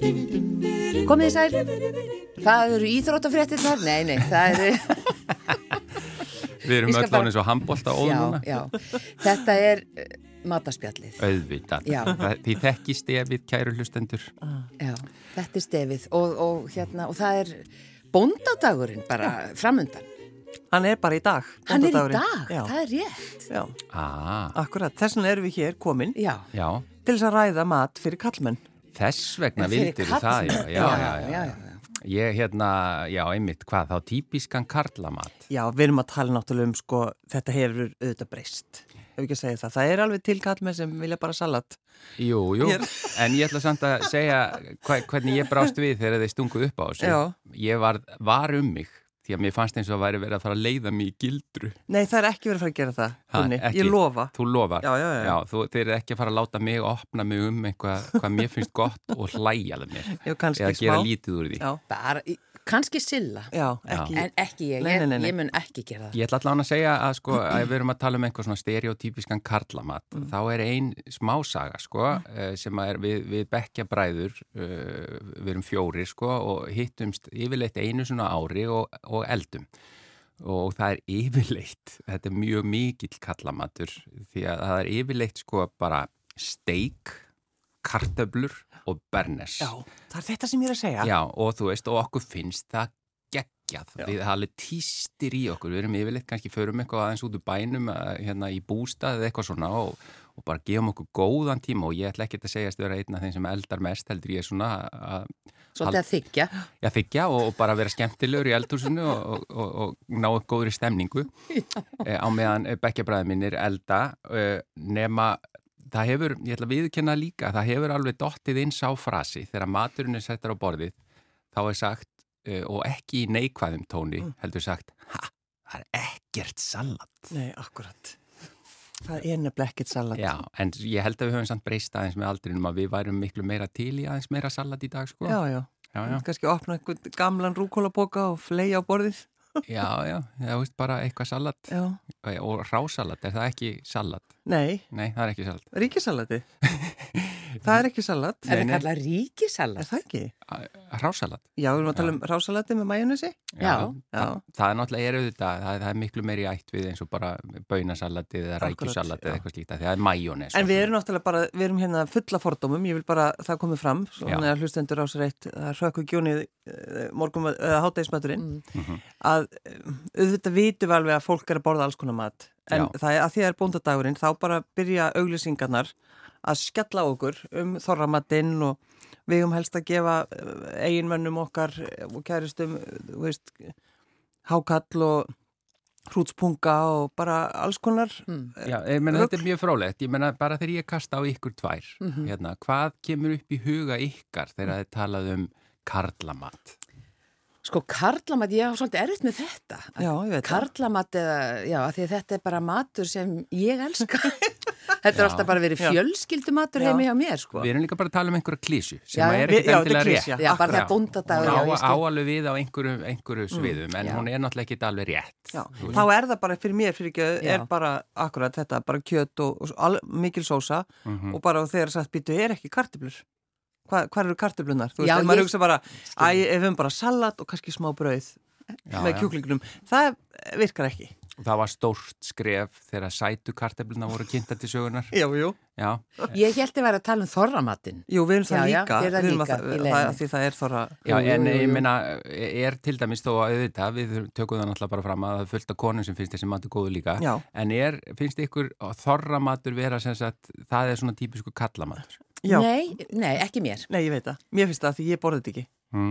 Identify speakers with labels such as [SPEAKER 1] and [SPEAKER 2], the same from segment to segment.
[SPEAKER 1] Komið þið sæl, það eru íþróttafréttirnar, nei, nei, það eru,
[SPEAKER 2] Við
[SPEAKER 1] Ég
[SPEAKER 2] erum
[SPEAKER 1] skal
[SPEAKER 2] öll
[SPEAKER 1] bara-
[SPEAKER 2] orðin svo handbólta óður
[SPEAKER 1] já,
[SPEAKER 2] núna.
[SPEAKER 1] já, þetta er eh, mataspjallið,
[SPEAKER 2] Auðvitað.
[SPEAKER 1] Já.
[SPEAKER 2] Það- Þið þekki stefið, kæru hlustendur.
[SPEAKER 1] já, þetta er stefið og, og hérna, og það er bóndadagurinn bara framundan,
[SPEAKER 3] Hann er bara í dag.
[SPEAKER 1] hann er í
[SPEAKER 3] bóndadagurinn.
[SPEAKER 1] dag,
[SPEAKER 3] Já,
[SPEAKER 1] það er rétt,
[SPEAKER 3] já,
[SPEAKER 2] Ah,
[SPEAKER 3] akkurat. Þess vegna erum við hér komin
[SPEAKER 1] já,
[SPEAKER 2] já.
[SPEAKER 3] til þess að ræða mat fyrir kallmenn.
[SPEAKER 2] Þess vegna
[SPEAKER 1] En fyrir
[SPEAKER 2] vildir það, já,
[SPEAKER 1] karlmenn.
[SPEAKER 2] já, já, já,
[SPEAKER 1] Já, já, já.
[SPEAKER 2] Ég, hérna, já, einmitt, hvað, þá típiskan karlamat.
[SPEAKER 3] Já, við erum að tala náttúrulega um, sko, þetta hefur auðvitað breyst. Ef ekki að segja það. Það er alveg til kallmenn sem vilja bara salat.
[SPEAKER 2] Jú, jú,
[SPEAKER 3] Hér.
[SPEAKER 2] en ég ætla samt að segja hva, hvernig ég brást við þegar þeir stungu upp á þessu.
[SPEAKER 3] Já.
[SPEAKER 2] Ég var, var um mig, því að mér fannst eins og að væri verið að fara að leiða mig í gildru.
[SPEAKER 3] Nei, það er ekki verið að fara að gera það,
[SPEAKER 2] Ha,
[SPEAKER 3] Gunni.
[SPEAKER 2] ekki.
[SPEAKER 3] Ég lofa.
[SPEAKER 2] Þú lofar.
[SPEAKER 3] Já, já, já.
[SPEAKER 2] þú, þeir eru ekki að fara að láta mig opna mig um eitthvað hvað mér finnst gott og hlæjaði mér.
[SPEAKER 3] Já, kannski
[SPEAKER 2] Eða
[SPEAKER 3] smá.
[SPEAKER 2] gera lítið úr því.
[SPEAKER 3] Já,
[SPEAKER 1] bara, í- kannski silla,
[SPEAKER 3] já, ekki.
[SPEAKER 1] en ekki ég,
[SPEAKER 3] Nei, nei, nei,
[SPEAKER 1] ég,
[SPEAKER 3] nei.
[SPEAKER 1] ég mun ekki gera það.
[SPEAKER 2] Ég ætla allan að segja að sko, að við erum að tala um einhver svona stereotypískan karlamat, þá er ein smásaga sko, eh, sem að er við, við bekkja bræður, eh, við erum fjórir sko og hittumst yfirleitt einu svona ári og, og eldum. Og það er yfirleitt, þetta er mjög mikill kallamatur því að það er yfirleitt sko bara steik, kartöblur og bernes.
[SPEAKER 3] Já, það er þetta sem ég er að segja.
[SPEAKER 2] Já, og þú veist, og okkur finnst það geggjað, við það alveg týstir í okkur, við erum yfirleitt kannski förum eitthvað aðeins út úr bænum, að, hérna í bústað eða eitthvað svona og, og bara gefum okkur góðan tíma og ég ætla ekki að segjast að vera einn af þeim sem eldar mest heldur ég svona að
[SPEAKER 1] Svolítið að þykja.
[SPEAKER 2] Já, þykja og, og bara vera skemmtilegur í eldhúsinu og, og, og, og ná upp góðri stemningu e, á meðan bekkjabræðið minn er elda e, nema það hefur, ég ætla að viðkenna líka, það hefur alveg dottið inn sá frasi þegar maturinn er settar á borðið þá er sagt, e, og ekki í neikvæðum tóni, heldur sagt, ha, það er ekkert salat.
[SPEAKER 3] Nei, akkurat. Það er nefnilega ekkert salat.
[SPEAKER 2] Já, en ég held að við höfum samt breyst aðeins með aldrinum að við værum miklu meira til í aðeins meira salat í dag, sko.
[SPEAKER 3] já. já.
[SPEAKER 2] já, já.
[SPEAKER 3] Kannski opna einhvern gamlan rúkólaboka og fleja á borðið.
[SPEAKER 2] já, já, það veist bara eitthvað salat.
[SPEAKER 3] Já.
[SPEAKER 2] og rásalat, er það ekki salat?
[SPEAKER 3] Nei,
[SPEAKER 2] Nei, það er ekki salat.
[SPEAKER 3] ríkisalati. það er ekki salat.
[SPEAKER 1] Er það
[SPEAKER 2] nei.
[SPEAKER 1] kallað ríkisalat?
[SPEAKER 3] Er það ekki?
[SPEAKER 2] A- Rásalat?
[SPEAKER 3] Já, við erum að tala um rásalati með majónesi.
[SPEAKER 1] Já,
[SPEAKER 2] Það,
[SPEAKER 3] já.
[SPEAKER 2] það er náttúrulega er auðvitað, það, það er miklu meiri ætt við eins og bara baunasalatið eða
[SPEAKER 3] Akkurat,
[SPEAKER 2] rækjusalatið
[SPEAKER 3] já.
[SPEAKER 2] eða eitthvað slíkt, af því það er majónes.
[SPEAKER 3] En við erum náttúrulega bara, við erum hérna fulla fordómum, ég vil bara að það komið fram, svona
[SPEAKER 2] Já.
[SPEAKER 3] að hlustendur á sér eitt, það hrökku gjónið eh, morgum, eða hátægismaturinn,
[SPEAKER 1] Mm.
[SPEAKER 2] Mhm.
[SPEAKER 3] að eh, auðvitað vitum við alveg að fólk er að borða alls konar mat, en
[SPEAKER 2] Já.
[SPEAKER 3] það er að því að það er bóndadagurinn, þá bara byrja auglýsingarnar að skella á okkur um þorramatinn og við um helst að gefa eh, eiginmönnum okkar eh, og kæristum, eh, þú veist, hákall og hrútspunga og bara alls konar
[SPEAKER 2] Já, ég meina þetta er mjög frólegt, ég meina bara þegar ég kasta á ykkur tvær,
[SPEAKER 3] Mhm.
[SPEAKER 2] hérna, hvað kemur upp í huga ykkar
[SPEAKER 3] Mm.
[SPEAKER 2] þegar þið talað um karlamat?
[SPEAKER 1] Sko karlamat, ég á svolítið erfitt með þetta.
[SPEAKER 3] Já, ég veit það.
[SPEAKER 1] Karlamat eða, já, af því að þetta er bara matur sem ég elska. þetta er alltaf bara verið
[SPEAKER 3] Já.
[SPEAKER 1] fjölskyldumatur
[SPEAKER 3] Já.
[SPEAKER 1] heimi hjá mér, sko.
[SPEAKER 2] Við erum líka bara að tala um einhverja klísu sem
[SPEAKER 1] Já,
[SPEAKER 2] að
[SPEAKER 1] já.
[SPEAKER 2] er ekkert
[SPEAKER 3] Já, þetta er
[SPEAKER 2] endilega rétt.
[SPEAKER 3] klisja.
[SPEAKER 1] Já, bara það
[SPEAKER 3] Akkurat.
[SPEAKER 1] bóndadagur.
[SPEAKER 2] Hún
[SPEAKER 1] já, ég
[SPEAKER 2] á-
[SPEAKER 1] skil.
[SPEAKER 2] á alveg við á einhverju, einhverju
[SPEAKER 3] Mm.
[SPEAKER 2] sviðum, en
[SPEAKER 1] já.
[SPEAKER 2] hún er náttúrulega ekki alveg rétt.
[SPEAKER 3] Já, þá er það bara fyrir mér fyrir ekki, er
[SPEAKER 1] Já.
[SPEAKER 3] bara akkurat þetta, bara kjöt og, og all, mikil sósa
[SPEAKER 1] Mhm.
[SPEAKER 3] og bara þegar sagt býtu, er ekki kartiblur? Hva, hvar eru kartiblunar? Þú veist,
[SPEAKER 1] Já,
[SPEAKER 3] ef maður
[SPEAKER 1] ég-
[SPEAKER 3] hugsa bara, æ, ef við höfum bara salat og kannski smá brauð
[SPEAKER 2] Já,
[SPEAKER 3] með
[SPEAKER 2] já.
[SPEAKER 3] kjúklingnum, það virkar ekki.
[SPEAKER 2] Það var stórt skref þegar sætu karteflina voru kynnta til sögunar.
[SPEAKER 3] Já, jú.
[SPEAKER 2] Já,
[SPEAKER 1] Ég held ég væri að tala um þorramatinn.
[SPEAKER 3] Jú, við erum það
[SPEAKER 1] Já, já,
[SPEAKER 3] líka,
[SPEAKER 1] þið eruð það
[SPEAKER 3] við erum
[SPEAKER 1] líka, ég
[SPEAKER 3] að það,
[SPEAKER 1] leiði
[SPEAKER 3] það,
[SPEAKER 1] mér.
[SPEAKER 3] að því það er þorra.
[SPEAKER 2] já
[SPEAKER 1] Jú, jú,
[SPEAKER 2] en
[SPEAKER 1] jú,
[SPEAKER 2] ég
[SPEAKER 1] jú.
[SPEAKER 2] meina, er til dæmis þó að auðvitað, við tökum það náttúrulega bara fram að það er fullt af konum sem finnst þessi matur góðu líka.
[SPEAKER 3] Já.
[SPEAKER 2] En er, finnst ykkur þorramatur vera sem sagt, það er svona típisku kallamatur?
[SPEAKER 3] Já, nei.
[SPEAKER 1] Nei, nei, ekki mér.
[SPEAKER 3] ég veit það. Mér finnst það að því ég borði þetta ekki.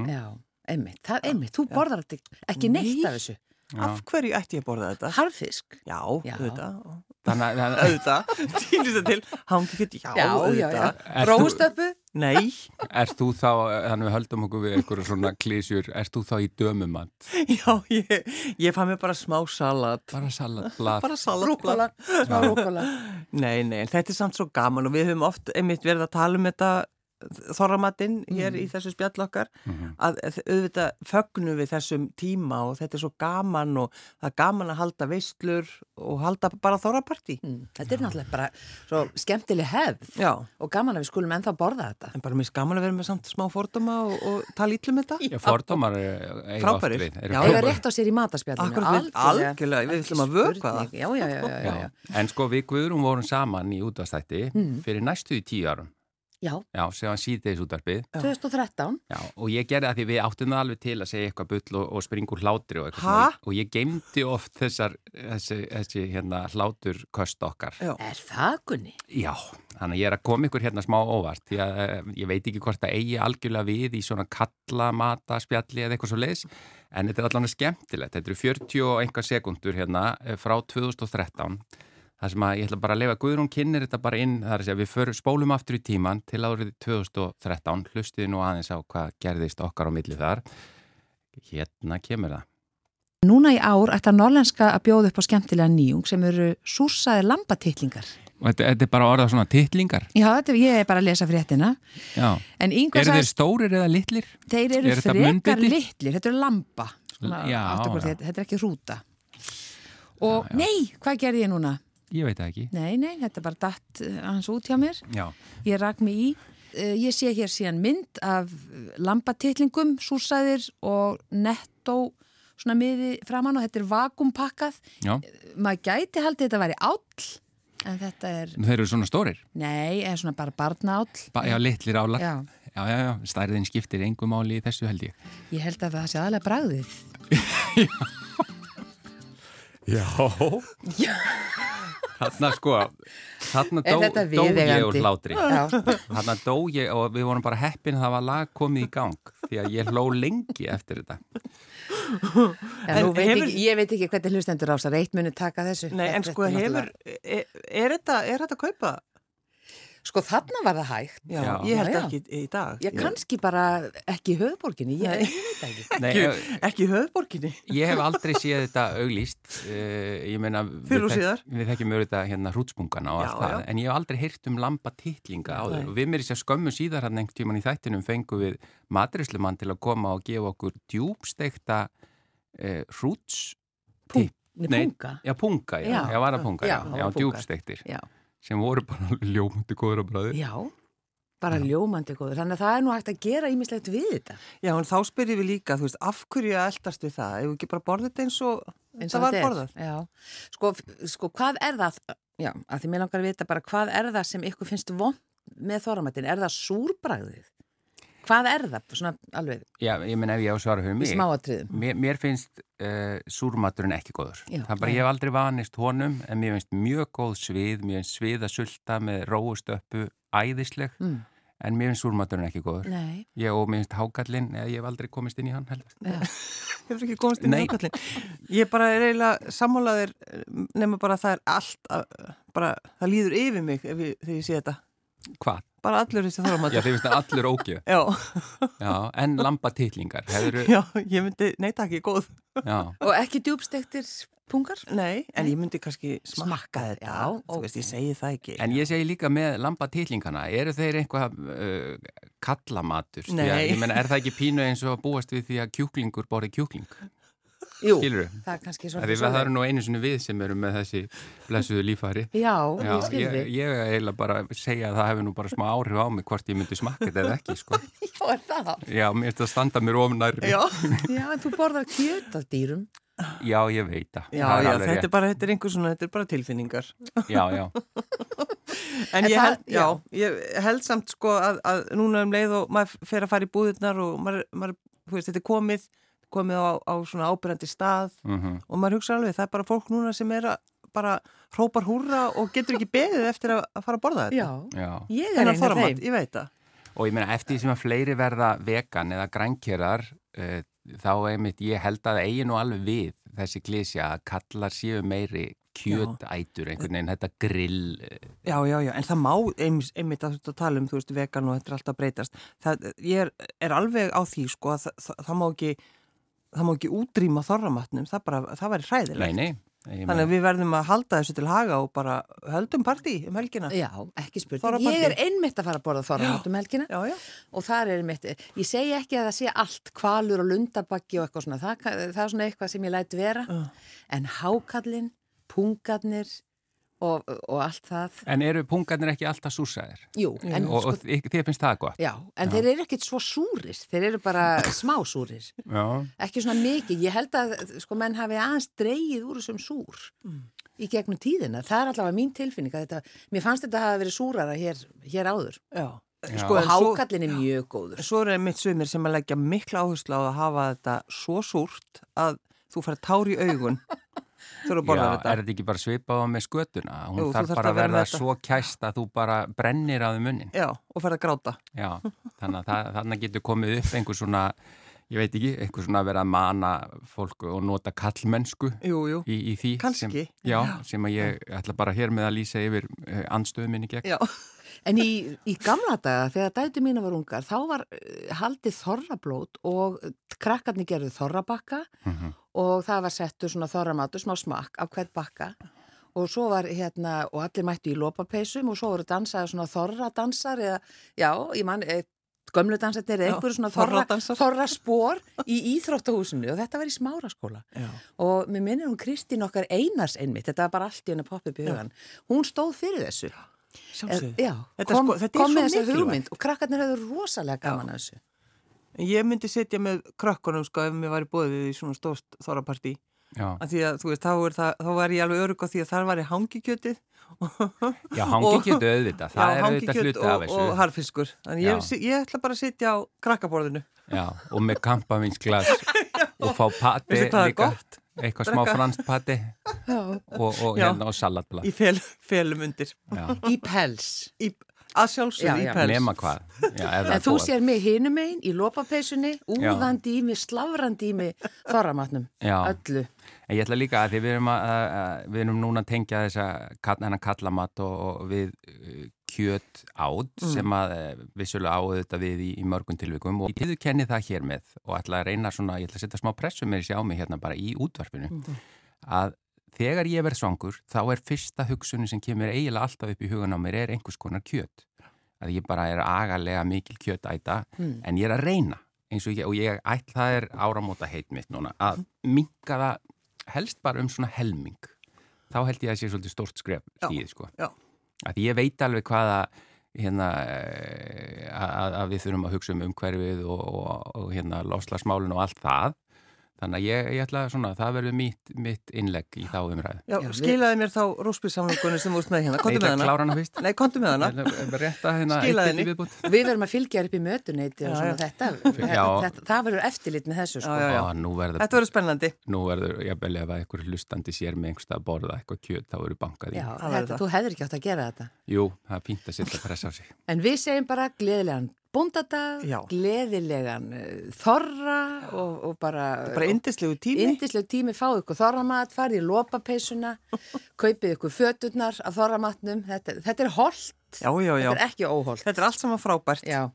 [SPEAKER 1] Já, einmitt, það, einmitt, þú borðar þetta ekki neitt
[SPEAKER 3] Nei.
[SPEAKER 1] af þessu.
[SPEAKER 3] Af hverju ætti ég að borða þetta?
[SPEAKER 1] Harfisk.
[SPEAKER 3] Já,
[SPEAKER 1] Já.
[SPEAKER 3] auðvitað. og-
[SPEAKER 2] Þannig að...
[SPEAKER 3] Auðvitað, týnist það til, hangið, já,
[SPEAKER 1] Já, já,
[SPEAKER 3] auðvitað.
[SPEAKER 1] já.
[SPEAKER 2] Ert þú-
[SPEAKER 1] Róstöpu,
[SPEAKER 3] Nei,
[SPEAKER 2] Er þú þá, þannig við höldum okkur við einhverju svona klísjur, er þú þá í dömumat?
[SPEAKER 3] já, ég, ég fann mér bara smá salat.
[SPEAKER 2] Bara salatblad.
[SPEAKER 3] Bara salat.
[SPEAKER 1] Rúkola, smá rúkola.
[SPEAKER 3] Nei, nei, en þetta er samt svo gaman og við höfum oft einmitt verið að tala um þetta þorramatinn hér
[SPEAKER 1] Mm.
[SPEAKER 3] í þessu spjall okkar
[SPEAKER 1] Mhm.
[SPEAKER 3] að þ- auðvitað fögnum við þessum tíma og þetta er svo gaman og það er gaman að halda veislur og halda bara þorrapartí
[SPEAKER 1] Mm, Þetta er náttúrulega bara svo skemmtileg hefð
[SPEAKER 3] Já,
[SPEAKER 1] og gaman að við skulum ennþá borða þetta.
[SPEAKER 3] en bara mér er gaman að vera með samt smá fordóma og, og tala ítlum þetta
[SPEAKER 2] Já, fordómar eiga oft
[SPEAKER 3] Frábærir.
[SPEAKER 2] við. eru
[SPEAKER 3] Já,
[SPEAKER 1] Eða
[SPEAKER 2] frábærir.
[SPEAKER 1] rétt á sér í mataspjallinu.
[SPEAKER 3] Akkurat, við- algjörlega, við ætlum að
[SPEAKER 1] Ekki
[SPEAKER 3] vökva það.
[SPEAKER 1] spurning. Já, já, já, já, já,
[SPEAKER 2] Já. En sko við Guðrún vorum saman í útastætti fyrir næstu í tíu árum.
[SPEAKER 1] já.
[SPEAKER 2] Já, sem hann síðdeis útarpið.
[SPEAKER 1] 2013,
[SPEAKER 2] Já, og ég gerði það því við áttum það alveg til að segja eitthvað bull og, og springur hlátri og eitthvað.
[SPEAKER 3] Ha?
[SPEAKER 2] svona. Og ég geymdi oft þessar, þessi, þessi hérna hláturköst okkar.
[SPEAKER 3] Já.
[SPEAKER 1] er það gunni?
[SPEAKER 2] Já, þannig að ég er að koma ykkur hérna smá óvart því að eh, ég veit ekki hvort það eigi algjörlega við í svona kalla, mata, spjalli eða eitthvað svo leiðis en þetta er allan skemmtilegt, þetta eru 40 og einhver sekundur hérna eh, frá 2013 þar sem að ég ætla bara að leifa Guðrún kynir þetta bara inn þar að segja við för, spólum aftur í tíman til árið 2013 hlustiði nú aðeins á hvað gerðist okkar á milli þar hérna kemur það
[SPEAKER 4] Núna í ár ætlar Norlenska að bjóða upp á skemmtilega nýjung sem eru súsaði lambatitlingar.
[SPEAKER 2] og þetta, þetta er bara orðað svona titlingar
[SPEAKER 4] Já, þetta, ég er bara að lesa fréttina.
[SPEAKER 2] Já.
[SPEAKER 4] En yngvar
[SPEAKER 2] eru þeir
[SPEAKER 4] sagðist,
[SPEAKER 2] stórir eða litlir?
[SPEAKER 4] þeir eru
[SPEAKER 2] eru þetta
[SPEAKER 4] frekar
[SPEAKER 2] munnbiti?
[SPEAKER 4] litlir, þetta eru lamba. Svona,
[SPEAKER 2] Já,
[SPEAKER 4] átta hvort
[SPEAKER 2] já.
[SPEAKER 4] Þetta, þetta er ekki rúta. Og nei, hvað gerði ég núna?
[SPEAKER 2] Ég veit það ekki
[SPEAKER 4] Nei, nei, þetta bara datt eh, hans út hjá mér.
[SPEAKER 2] Já
[SPEAKER 4] Ég rak mig í. Eh, Ég sé hér síðan mynd af eh, lambatitlingum, súsaðir og nettó svona miði framann og þetta er vakumpakkað.
[SPEAKER 2] Já,
[SPEAKER 4] maður gæti haldið þetta væri áll en þetta er,
[SPEAKER 2] þeir eru svona stórir
[SPEAKER 4] nei, er svona bara barnáll
[SPEAKER 2] ba Já, litlir álar
[SPEAKER 4] Já.
[SPEAKER 2] já, já, já. stærðin skiptir engum máli í þessu held ég
[SPEAKER 4] ég held að það sé aðalega bragðið
[SPEAKER 2] Já Þarna sko Þarna
[SPEAKER 1] Er
[SPEAKER 2] dó,
[SPEAKER 1] þetta
[SPEAKER 2] dó ég úr
[SPEAKER 1] viðeigandi?
[SPEAKER 2] hlátri
[SPEAKER 1] Já.
[SPEAKER 2] Þarna dó ég og við vorum bara heppin að það var lag komið í gang því að ég hló lengi eftir þetta
[SPEAKER 1] Já,
[SPEAKER 3] En
[SPEAKER 1] nú veit
[SPEAKER 3] hefur-
[SPEAKER 1] ekki, ég veit ekki hvernig hlustendur ásar eitt muni taka þessu.
[SPEAKER 3] Nei, en
[SPEAKER 1] Þetta
[SPEAKER 3] sko
[SPEAKER 1] er
[SPEAKER 3] hefur,
[SPEAKER 1] náttúrulega-
[SPEAKER 3] er, er þetta, er þetta að kaupa?
[SPEAKER 1] Sko þarna var það hægt.
[SPEAKER 3] Já,
[SPEAKER 2] Já.
[SPEAKER 3] ég held
[SPEAKER 1] Já, já.
[SPEAKER 3] ekki í- í dag
[SPEAKER 1] Já, kannski bara ekki í höfuborginni, ég, ég veit það ekki.
[SPEAKER 2] Nei,
[SPEAKER 3] Ekki, ekki í höfðborginni
[SPEAKER 2] Ég hef aldrei séð þetta auglýst uh, Ég meina við,
[SPEAKER 3] Fyrr og síðar.
[SPEAKER 2] við þekkjum auðvitað hérna hrútspungana og
[SPEAKER 3] Já,
[SPEAKER 2] allt það
[SPEAKER 3] já.
[SPEAKER 2] En ég hef aldrei heyrt um lamba titlinga áður
[SPEAKER 3] Nei.
[SPEAKER 2] Og við mér sér skömmu síðar hann einhvern tíman í þættinum fengum við matrislumann til að koma og gefa okkur djúbstekta uh, hrúts
[SPEAKER 1] Pung-
[SPEAKER 2] Nei.
[SPEAKER 1] Nei, punga.
[SPEAKER 2] Já, punga, já, já,
[SPEAKER 1] Já.
[SPEAKER 2] var að punga, já,
[SPEAKER 1] Já,
[SPEAKER 2] já,
[SPEAKER 1] varapungar.
[SPEAKER 2] djúbstektir
[SPEAKER 1] Já.
[SPEAKER 2] sem voru bara alveg ljómandi góður á bræði
[SPEAKER 1] Já, bara ljómandi góður. Þannig að það er nú hægt að gera ímislegt við þetta.
[SPEAKER 3] Já, en þá spyrjum við líka, þú veist, af hverju eldast við það? Ef við ekki bara borðið þetta eins og
[SPEAKER 1] eins
[SPEAKER 3] það
[SPEAKER 1] og
[SPEAKER 3] var
[SPEAKER 1] þetta er.
[SPEAKER 3] borðað?
[SPEAKER 1] Já, sko, f- sko hvað er það, já, að því mér langar að vita bara hvað er það sem ykkur finnst vond með þorramattin, er það súrbræðið? Hvað er það, svona alveg,
[SPEAKER 2] Já, ég meina ef ég á að svara fyrir
[SPEAKER 1] í
[SPEAKER 2] mig
[SPEAKER 1] smáatriðum?
[SPEAKER 2] Mér, mér finnst uh, súrmaturinn ekki góður.
[SPEAKER 1] Já,
[SPEAKER 2] það er bara,
[SPEAKER 1] nei.
[SPEAKER 2] ég hef aldrei vanist honum, en mér finnst mjög góð svið, mér finnst sviðasulta með róustöppu æðisleg,
[SPEAKER 1] Mm.
[SPEAKER 2] en mér finnst súrmaturinn ekki góður.
[SPEAKER 1] Nei,
[SPEAKER 2] Ég og mér finnst hákallinn, eða ég hef aldrei komist inn í hann heldur.
[SPEAKER 3] Hefur ekki komast inn í
[SPEAKER 2] Nei.
[SPEAKER 3] ákallin. Ég bara er eiginlega sammálaðir nema bara það er allt að, bara, það líður yfir mig ef ég, þegar ég sé þetta.
[SPEAKER 2] Hvað?
[SPEAKER 3] Bara allur þessi
[SPEAKER 2] Já,
[SPEAKER 3] þorramat.
[SPEAKER 2] þið finnst það allur ógjöð.
[SPEAKER 3] Já,
[SPEAKER 2] Já, en lambatitlingar, hefur,
[SPEAKER 3] já, ég myndi, nei takk, ég er góð.
[SPEAKER 2] já,
[SPEAKER 1] og ekki djúbstektir pungar?
[SPEAKER 3] Nei, en ég myndi kannski smakka,
[SPEAKER 1] Smakka þetta,
[SPEAKER 3] þetta.
[SPEAKER 1] já,
[SPEAKER 3] Þú
[SPEAKER 1] ok.
[SPEAKER 3] veist, ég segi það ekki.
[SPEAKER 2] En ég segi líka með lambatillingarna, eru þeir einhvað uh, kallamatur? Því að,
[SPEAKER 3] Nei.
[SPEAKER 2] Ég menna, er það ekki pínu eins og að búast við því að kjúklingur borði kjúkling?
[SPEAKER 1] Jú,
[SPEAKER 2] Skilur
[SPEAKER 1] það er kannski
[SPEAKER 2] Af Því
[SPEAKER 1] svona.
[SPEAKER 2] að það eru nú einu sinni við sem eru með þessi blessuðu lífari.
[SPEAKER 1] Já,
[SPEAKER 2] Já,
[SPEAKER 1] ég skilur
[SPEAKER 2] ég,
[SPEAKER 1] þig.
[SPEAKER 2] ég eiginlega bara segja að það hefur nú bara smá áhrif á mig hvort ég myndi smakka þetta eða ekki, sko.
[SPEAKER 1] Já, er það?
[SPEAKER 2] Já, mér finnst það standa mér ofnær.
[SPEAKER 3] Já,
[SPEAKER 1] Já, en þú borðar kjöt af dýrum.
[SPEAKER 2] já, ég veit það.
[SPEAKER 3] já,
[SPEAKER 2] það
[SPEAKER 3] já
[SPEAKER 2] alveg
[SPEAKER 3] þetta er
[SPEAKER 2] rétt.
[SPEAKER 3] bara, þetta er einhver svona, þetta er bara tilfinningar.
[SPEAKER 2] Já, já,
[SPEAKER 3] En
[SPEAKER 1] En
[SPEAKER 3] ég
[SPEAKER 1] það-
[SPEAKER 3] held, já, ég held samt sko að, að núna um leið og maður fer að fara í búðurnar og maður, maður þú veist, þetta er komið, komið á, á svona ábyrjandi stað
[SPEAKER 2] Mhm.
[SPEAKER 3] og maður hugsa alveg, það er bara fólk núna sem er að bara hrópar húra og getur ekki beðið eftir að, að fara að borða þetta.
[SPEAKER 1] Já,
[SPEAKER 2] já.
[SPEAKER 1] ég er
[SPEAKER 3] Þennan
[SPEAKER 1] einn af
[SPEAKER 3] þorramat,
[SPEAKER 1] þeim.
[SPEAKER 3] ég veit það.
[SPEAKER 2] Og ég meina, eftir því sem að fleiri verða vegan eða grænkerar, uh, þá einmitt, ég held að það eigi nú alveg við þessi klísja að kallar séu meiri kjötætur einhvern veginn, þetta grill eh,
[SPEAKER 3] Já, já, já, en það má einmitt, einmitt að þetta tala um, þú veist, vegan og þetta er alltaf að breytast. Það, ég er, er alveg á því, sko, að það, það, það má ekki, það má ekki útrýma þorramatnum, það bara, það væri
[SPEAKER 2] Nei,
[SPEAKER 3] hræðilegt.
[SPEAKER 2] nei ég
[SPEAKER 3] Þannig
[SPEAKER 2] meina-
[SPEAKER 3] að við verðum að halda þessu til haga og bara höldum partí um helgina.
[SPEAKER 1] Já, ekki spurning.
[SPEAKER 3] Þorramatinn.
[SPEAKER 1] Ég er einmitt að fara að borða þorramat um helgina
[SPEAKER 3] Já, já.
[SPEAKER 1] og þar er einmitt, ég segi ekki að það sé allt kvalur og lundabaggi og eitthvað svona, það, ka- það er svona eitthvað sem ég læt vera, en hákallin, pungarnir og, og allt það,
[SPEAKER 2] En eru pungarnir ekki alltaf súsaðir?
[SPEAKER 1] jú, en
[SPEAKER 2] og
[SPEAKER 1] sko,
[SPEAKER 2] og þi- þér finnst það gott?
[SPEAKER 1] já, en þeir eru ekkert svo súrir, þeir eru bara smá súrir,
[SPEAKER 2] Já.
[SPEAKER 1] ekki svona mikið, ég held að sko menn hafi aðeins dreigið úr þessum súr í gegnum tíðina, það er allavega mín tilfinning að þetta, mér fannst þetta hafa verið súrara hér, hér áður
[SPEAKER 3] Já.
[SPEAKER 2] Já.
[SPEAKER 3] Sko,
[SPEAKER 2] Og
[SPEAKER 3] en
[SPEAKER 1] og
[SPEAKER 3] svo-
[SPEAKER 1] hákallin er mjög góður.
[SPEAKER 3] Svo eru einmitt sumir sem að leggja mikla áherslu á að hafa þetta svo súrt að þú fær tár í augun þegar þú
[SPEAKER 2] Já,
[SPEAKER 3] borðar
[SPEAKER 2] er
[SPEAKER 3] þetta.
[SPEAKER 2] þetta ekki bara svipað á með skötuna? Hún
[SPEAKER 3] Jú, þú
[SPEAKER 2] þarf
[SPEAKER 3] þarft
[SPEAKER 2] bara
[SPEAKER 3] að
[SPEAKER 2] að
[SPEAKER 3] vera með
[SPEAKER 2] verða
[SPEAKER 3] þetta.
[SPEAKER 2] svo kæst að þú bara brennir að þau munnin.
[SPEAKER 3] Já, og fær að gráta.
[SPEAKER 2] Já, þannig að það, þannig getur komið upp einhver svona, ég veit ekki, einhver svona að vera að mana fólku og nota kallmennsku
[SPEAKER 3] Jú, jú.
[SPEAKER 2] í, í því.
[SPEAKER 3] Kannski.
[SPEAKER 2] Sem, já, sem að ég ætla bara hér með að lýsa yfir eh, andstöðu minni gegn.
[SPEAKER 3] Já.
[SPEAKER 1] En í, í gamla daga, þegar dætu mínu var ungar, þá var eh, haldið þorrablót og eh, krakkarnir gerðu þorrabakka og það var settur svona þorramatur, smá smakk af hvert bakka og svo var hérna, og allir mættu í lópapeysum og svo voru dansaði svona þorradansar eða, já, ég man, e, gömlu dansarnir eða
[SPEAKER 3] Já,
[SPEAKER 1] einhverju svona þorra,
[SPEAKER 3] þorradansar.
[SPEAKER 1] þorra spór í íþróttahúsinu og þetta var í smáraskóla
[SPEAKER 3] Já.
[SPEAKER 1] og mér minnir hún Kristín okkar Einars einmitt, þetta var bara allt í henni poppið í hugan, hún stóð fyrir þessu
[SPEAKER 3] Sjálfsögðu.
[SPEAKER 1] Eh, Já,
[SPEAKER 3] Þetta er
[SPEAKER 1] kom,
[SPEAKER 3] sko- þetta er
[SPEAKER 1] kom
[SPEAKER 3] svo
[SPEAKER 1] með þessa
[SPEAKER 3] mikilvægt.
[SPEAKER 1] hugmynd og krakkarnir höfðu rosalega gaman að þessu.
[SPEAKER 3] Ég myndi setja með krökkunum sko ef mér var í bóðið í svona stórt þorrapartí.
[SPEAKER 2] Já,
[SPEAKER 3] Af Því að þú veist, þá, er það, þá var ég alveg örug á því að þar var ég hangikjötið.
[SPEAKER 2] já hangi getur auðvitað, það
[SPEAKER 3] Já,
[SPEAKER 2] er auðvitað
[SPEAKER 3] hangikjöt
[SPEAKER 2] hluta af
[SPEAKER 3] og,
[SPEAKER 2] þessu.
[SPEAKER 3] og harfiskur. Þannig
[SPEAKER 2] Já.
[SPEAKER 3] ég, ég ætla bara að setja á krakkaborðinu.
[SPEAKER 2] Já, og með kampavinsglas og fá pati
[SPEAKER 3] Veistu hvað er
[SPEAKER 2] líka,
[SPEAKER 3] gott?
[SPEAKER 2] eitthvað smá franskt pati og, og
[SPEAKER 3] Já.
[SPEAKER 2] hérna og salatblad.
[SPEAKER 3] Í fel, felum undir.
[SPEAKER 2] Já,
[SPEAKER 1] Í pels.
[SPEAKER 3] Í, að
[SPEAKER 1] Já, já.
[SPEAKER 3] sjálfsögðu í pels.
[SPEAKER 2] nema hvað. Já, ef það
[SPEAKER 1] En
[SPEAKER 2] er
[SPEAKER 1] þú
[SPEAKER 2] búið.
[SPEAKER 1] sér mig hinum einn í lopapeysunni, úðandi í mig, slavrandi í mig, þorramatnum,
[SPEAKER 2] Já.
[SPEAKER 1] öllu.
[SPEAKER 2] En ég ætla líka að því við erum, að, að, að, við erum núna að tengja þessa kall- þennan kallamat og, og við uh, kjöt átt sem að uh, vissulega áður þetta við í, í mörgum tilvikum og ég hefðu kennið það hér með og ætla að reyna svona, ég ætla að setja smá pressu með þessi á mig hérna bara í útvarpinu að þegar ég verð svangur þá er fyrsta hugsunin sem kemur eiginlega alltaf upp í hugan á mér er einhvers konar kjöt að ég bara er agalega mikil kjötæta en ég er að reyna eins og ég, og ég ætla það er áramóta heit mitt núna að minka það helst bara um svona helming þá held ég að það sé svolítið stórt skref stíð sko.
[SPEAKER 3] Já.
[SPEAKER 2] að því ég veit alveg hvaða hérna eh, að, að við þurfum að hugsa um umhverfið og, og, og hérna lofslagsmálun og allt það þannig að ég, ég ætla svona það verður mitt, mitt innlegg í þá umræðu
[SPEAKER 3] Já,
[SPEAKER 1] Já, við-
[SPEAKER 3] skilaði mér þá rósbyrsamlingunni sem úrst með hérna.
[SPEAKER 2] Nei,
[SPEAKER 3] Kontu
[SPEAKER 2] ég ætla
[SPEAKER 3] með
[SPEAKER 2] að
[SPEAKER 3] hana.
[SPEAKER 2] klára hana fyrst
[SPEAKER 3] Nei, kontu með hana.
[SPEAKER 2] Ég ætla að rétta hérna eitt eitt í
[SPEAKER 3] Skilaðu henni.
[SPEAKER 2] viðbót.
[SPEAKER 1] Við verum að fylgja þér upp í mötuneyti og
[SPEAKER 3] Já,
[SPEAKER 1] svona
[SPEAKER 3] já.
[SPEAKER 1] þetta,
[SPEAKER 2] Já.
[SPEAKER 1] þetta. Það verður eftirlit með þessu, sko.
[SPEAKER 3] Já, já.
[SPEAKER 2] Ó, nú verður
[SPEAKER 3] Þetta verður spennandi.
[SPEAKER 2] nú verður, ég belja ef að einhver hlustandi sér með einhversta að borða eitthvað kjöt, þá eru bankað í.
[SPEAKER 1] Já,
[SPEAKER 3] Það verður
[SPEAKER 1] þetta,
[SPEAKER 3] það.
[SPEAKER 1] þú hefðir ekki átt að gera þetta.
[SPEAKER 2] Jú, það er fínt að setja pressa á sig.
[SPEAKER 1] En við segjum bara gleðilegan bóndadag,
[SPEAKER 3] Já.
[SPEAKER 1] gleðilegan eh, þorra og, og bara...
[SPEAKER 3] Bara indislegu tími.
[SPEAKER 1] Indisleg tími, fáðu ykkur þorramat, farið í lopapeysuna, kaupið ykkur föturnar af þorramatnum. Þetta, þetta er holdt,
[SPEAKER 3] Já, já, já.
[SPEAKER 1] þetta er ekki óholdt.
[SPEAKER 3] Þetta er allt saman frábært.
[SPEAKER 1] Já,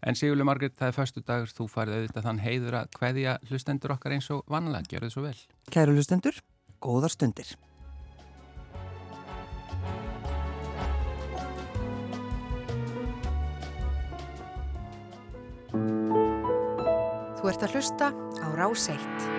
[SPEAKER 2] En Sigurli Margrét, það er förstu dagur, þú farið auðvitað þann heiður að kveðja hlustendur okkar eins og vanlega, gjör þið svo vel.
[SPEAKER 3] Kæru hlustendur, góðar stundir.
[SPEAKER 5] Þú ert að hlusta á Rás 1.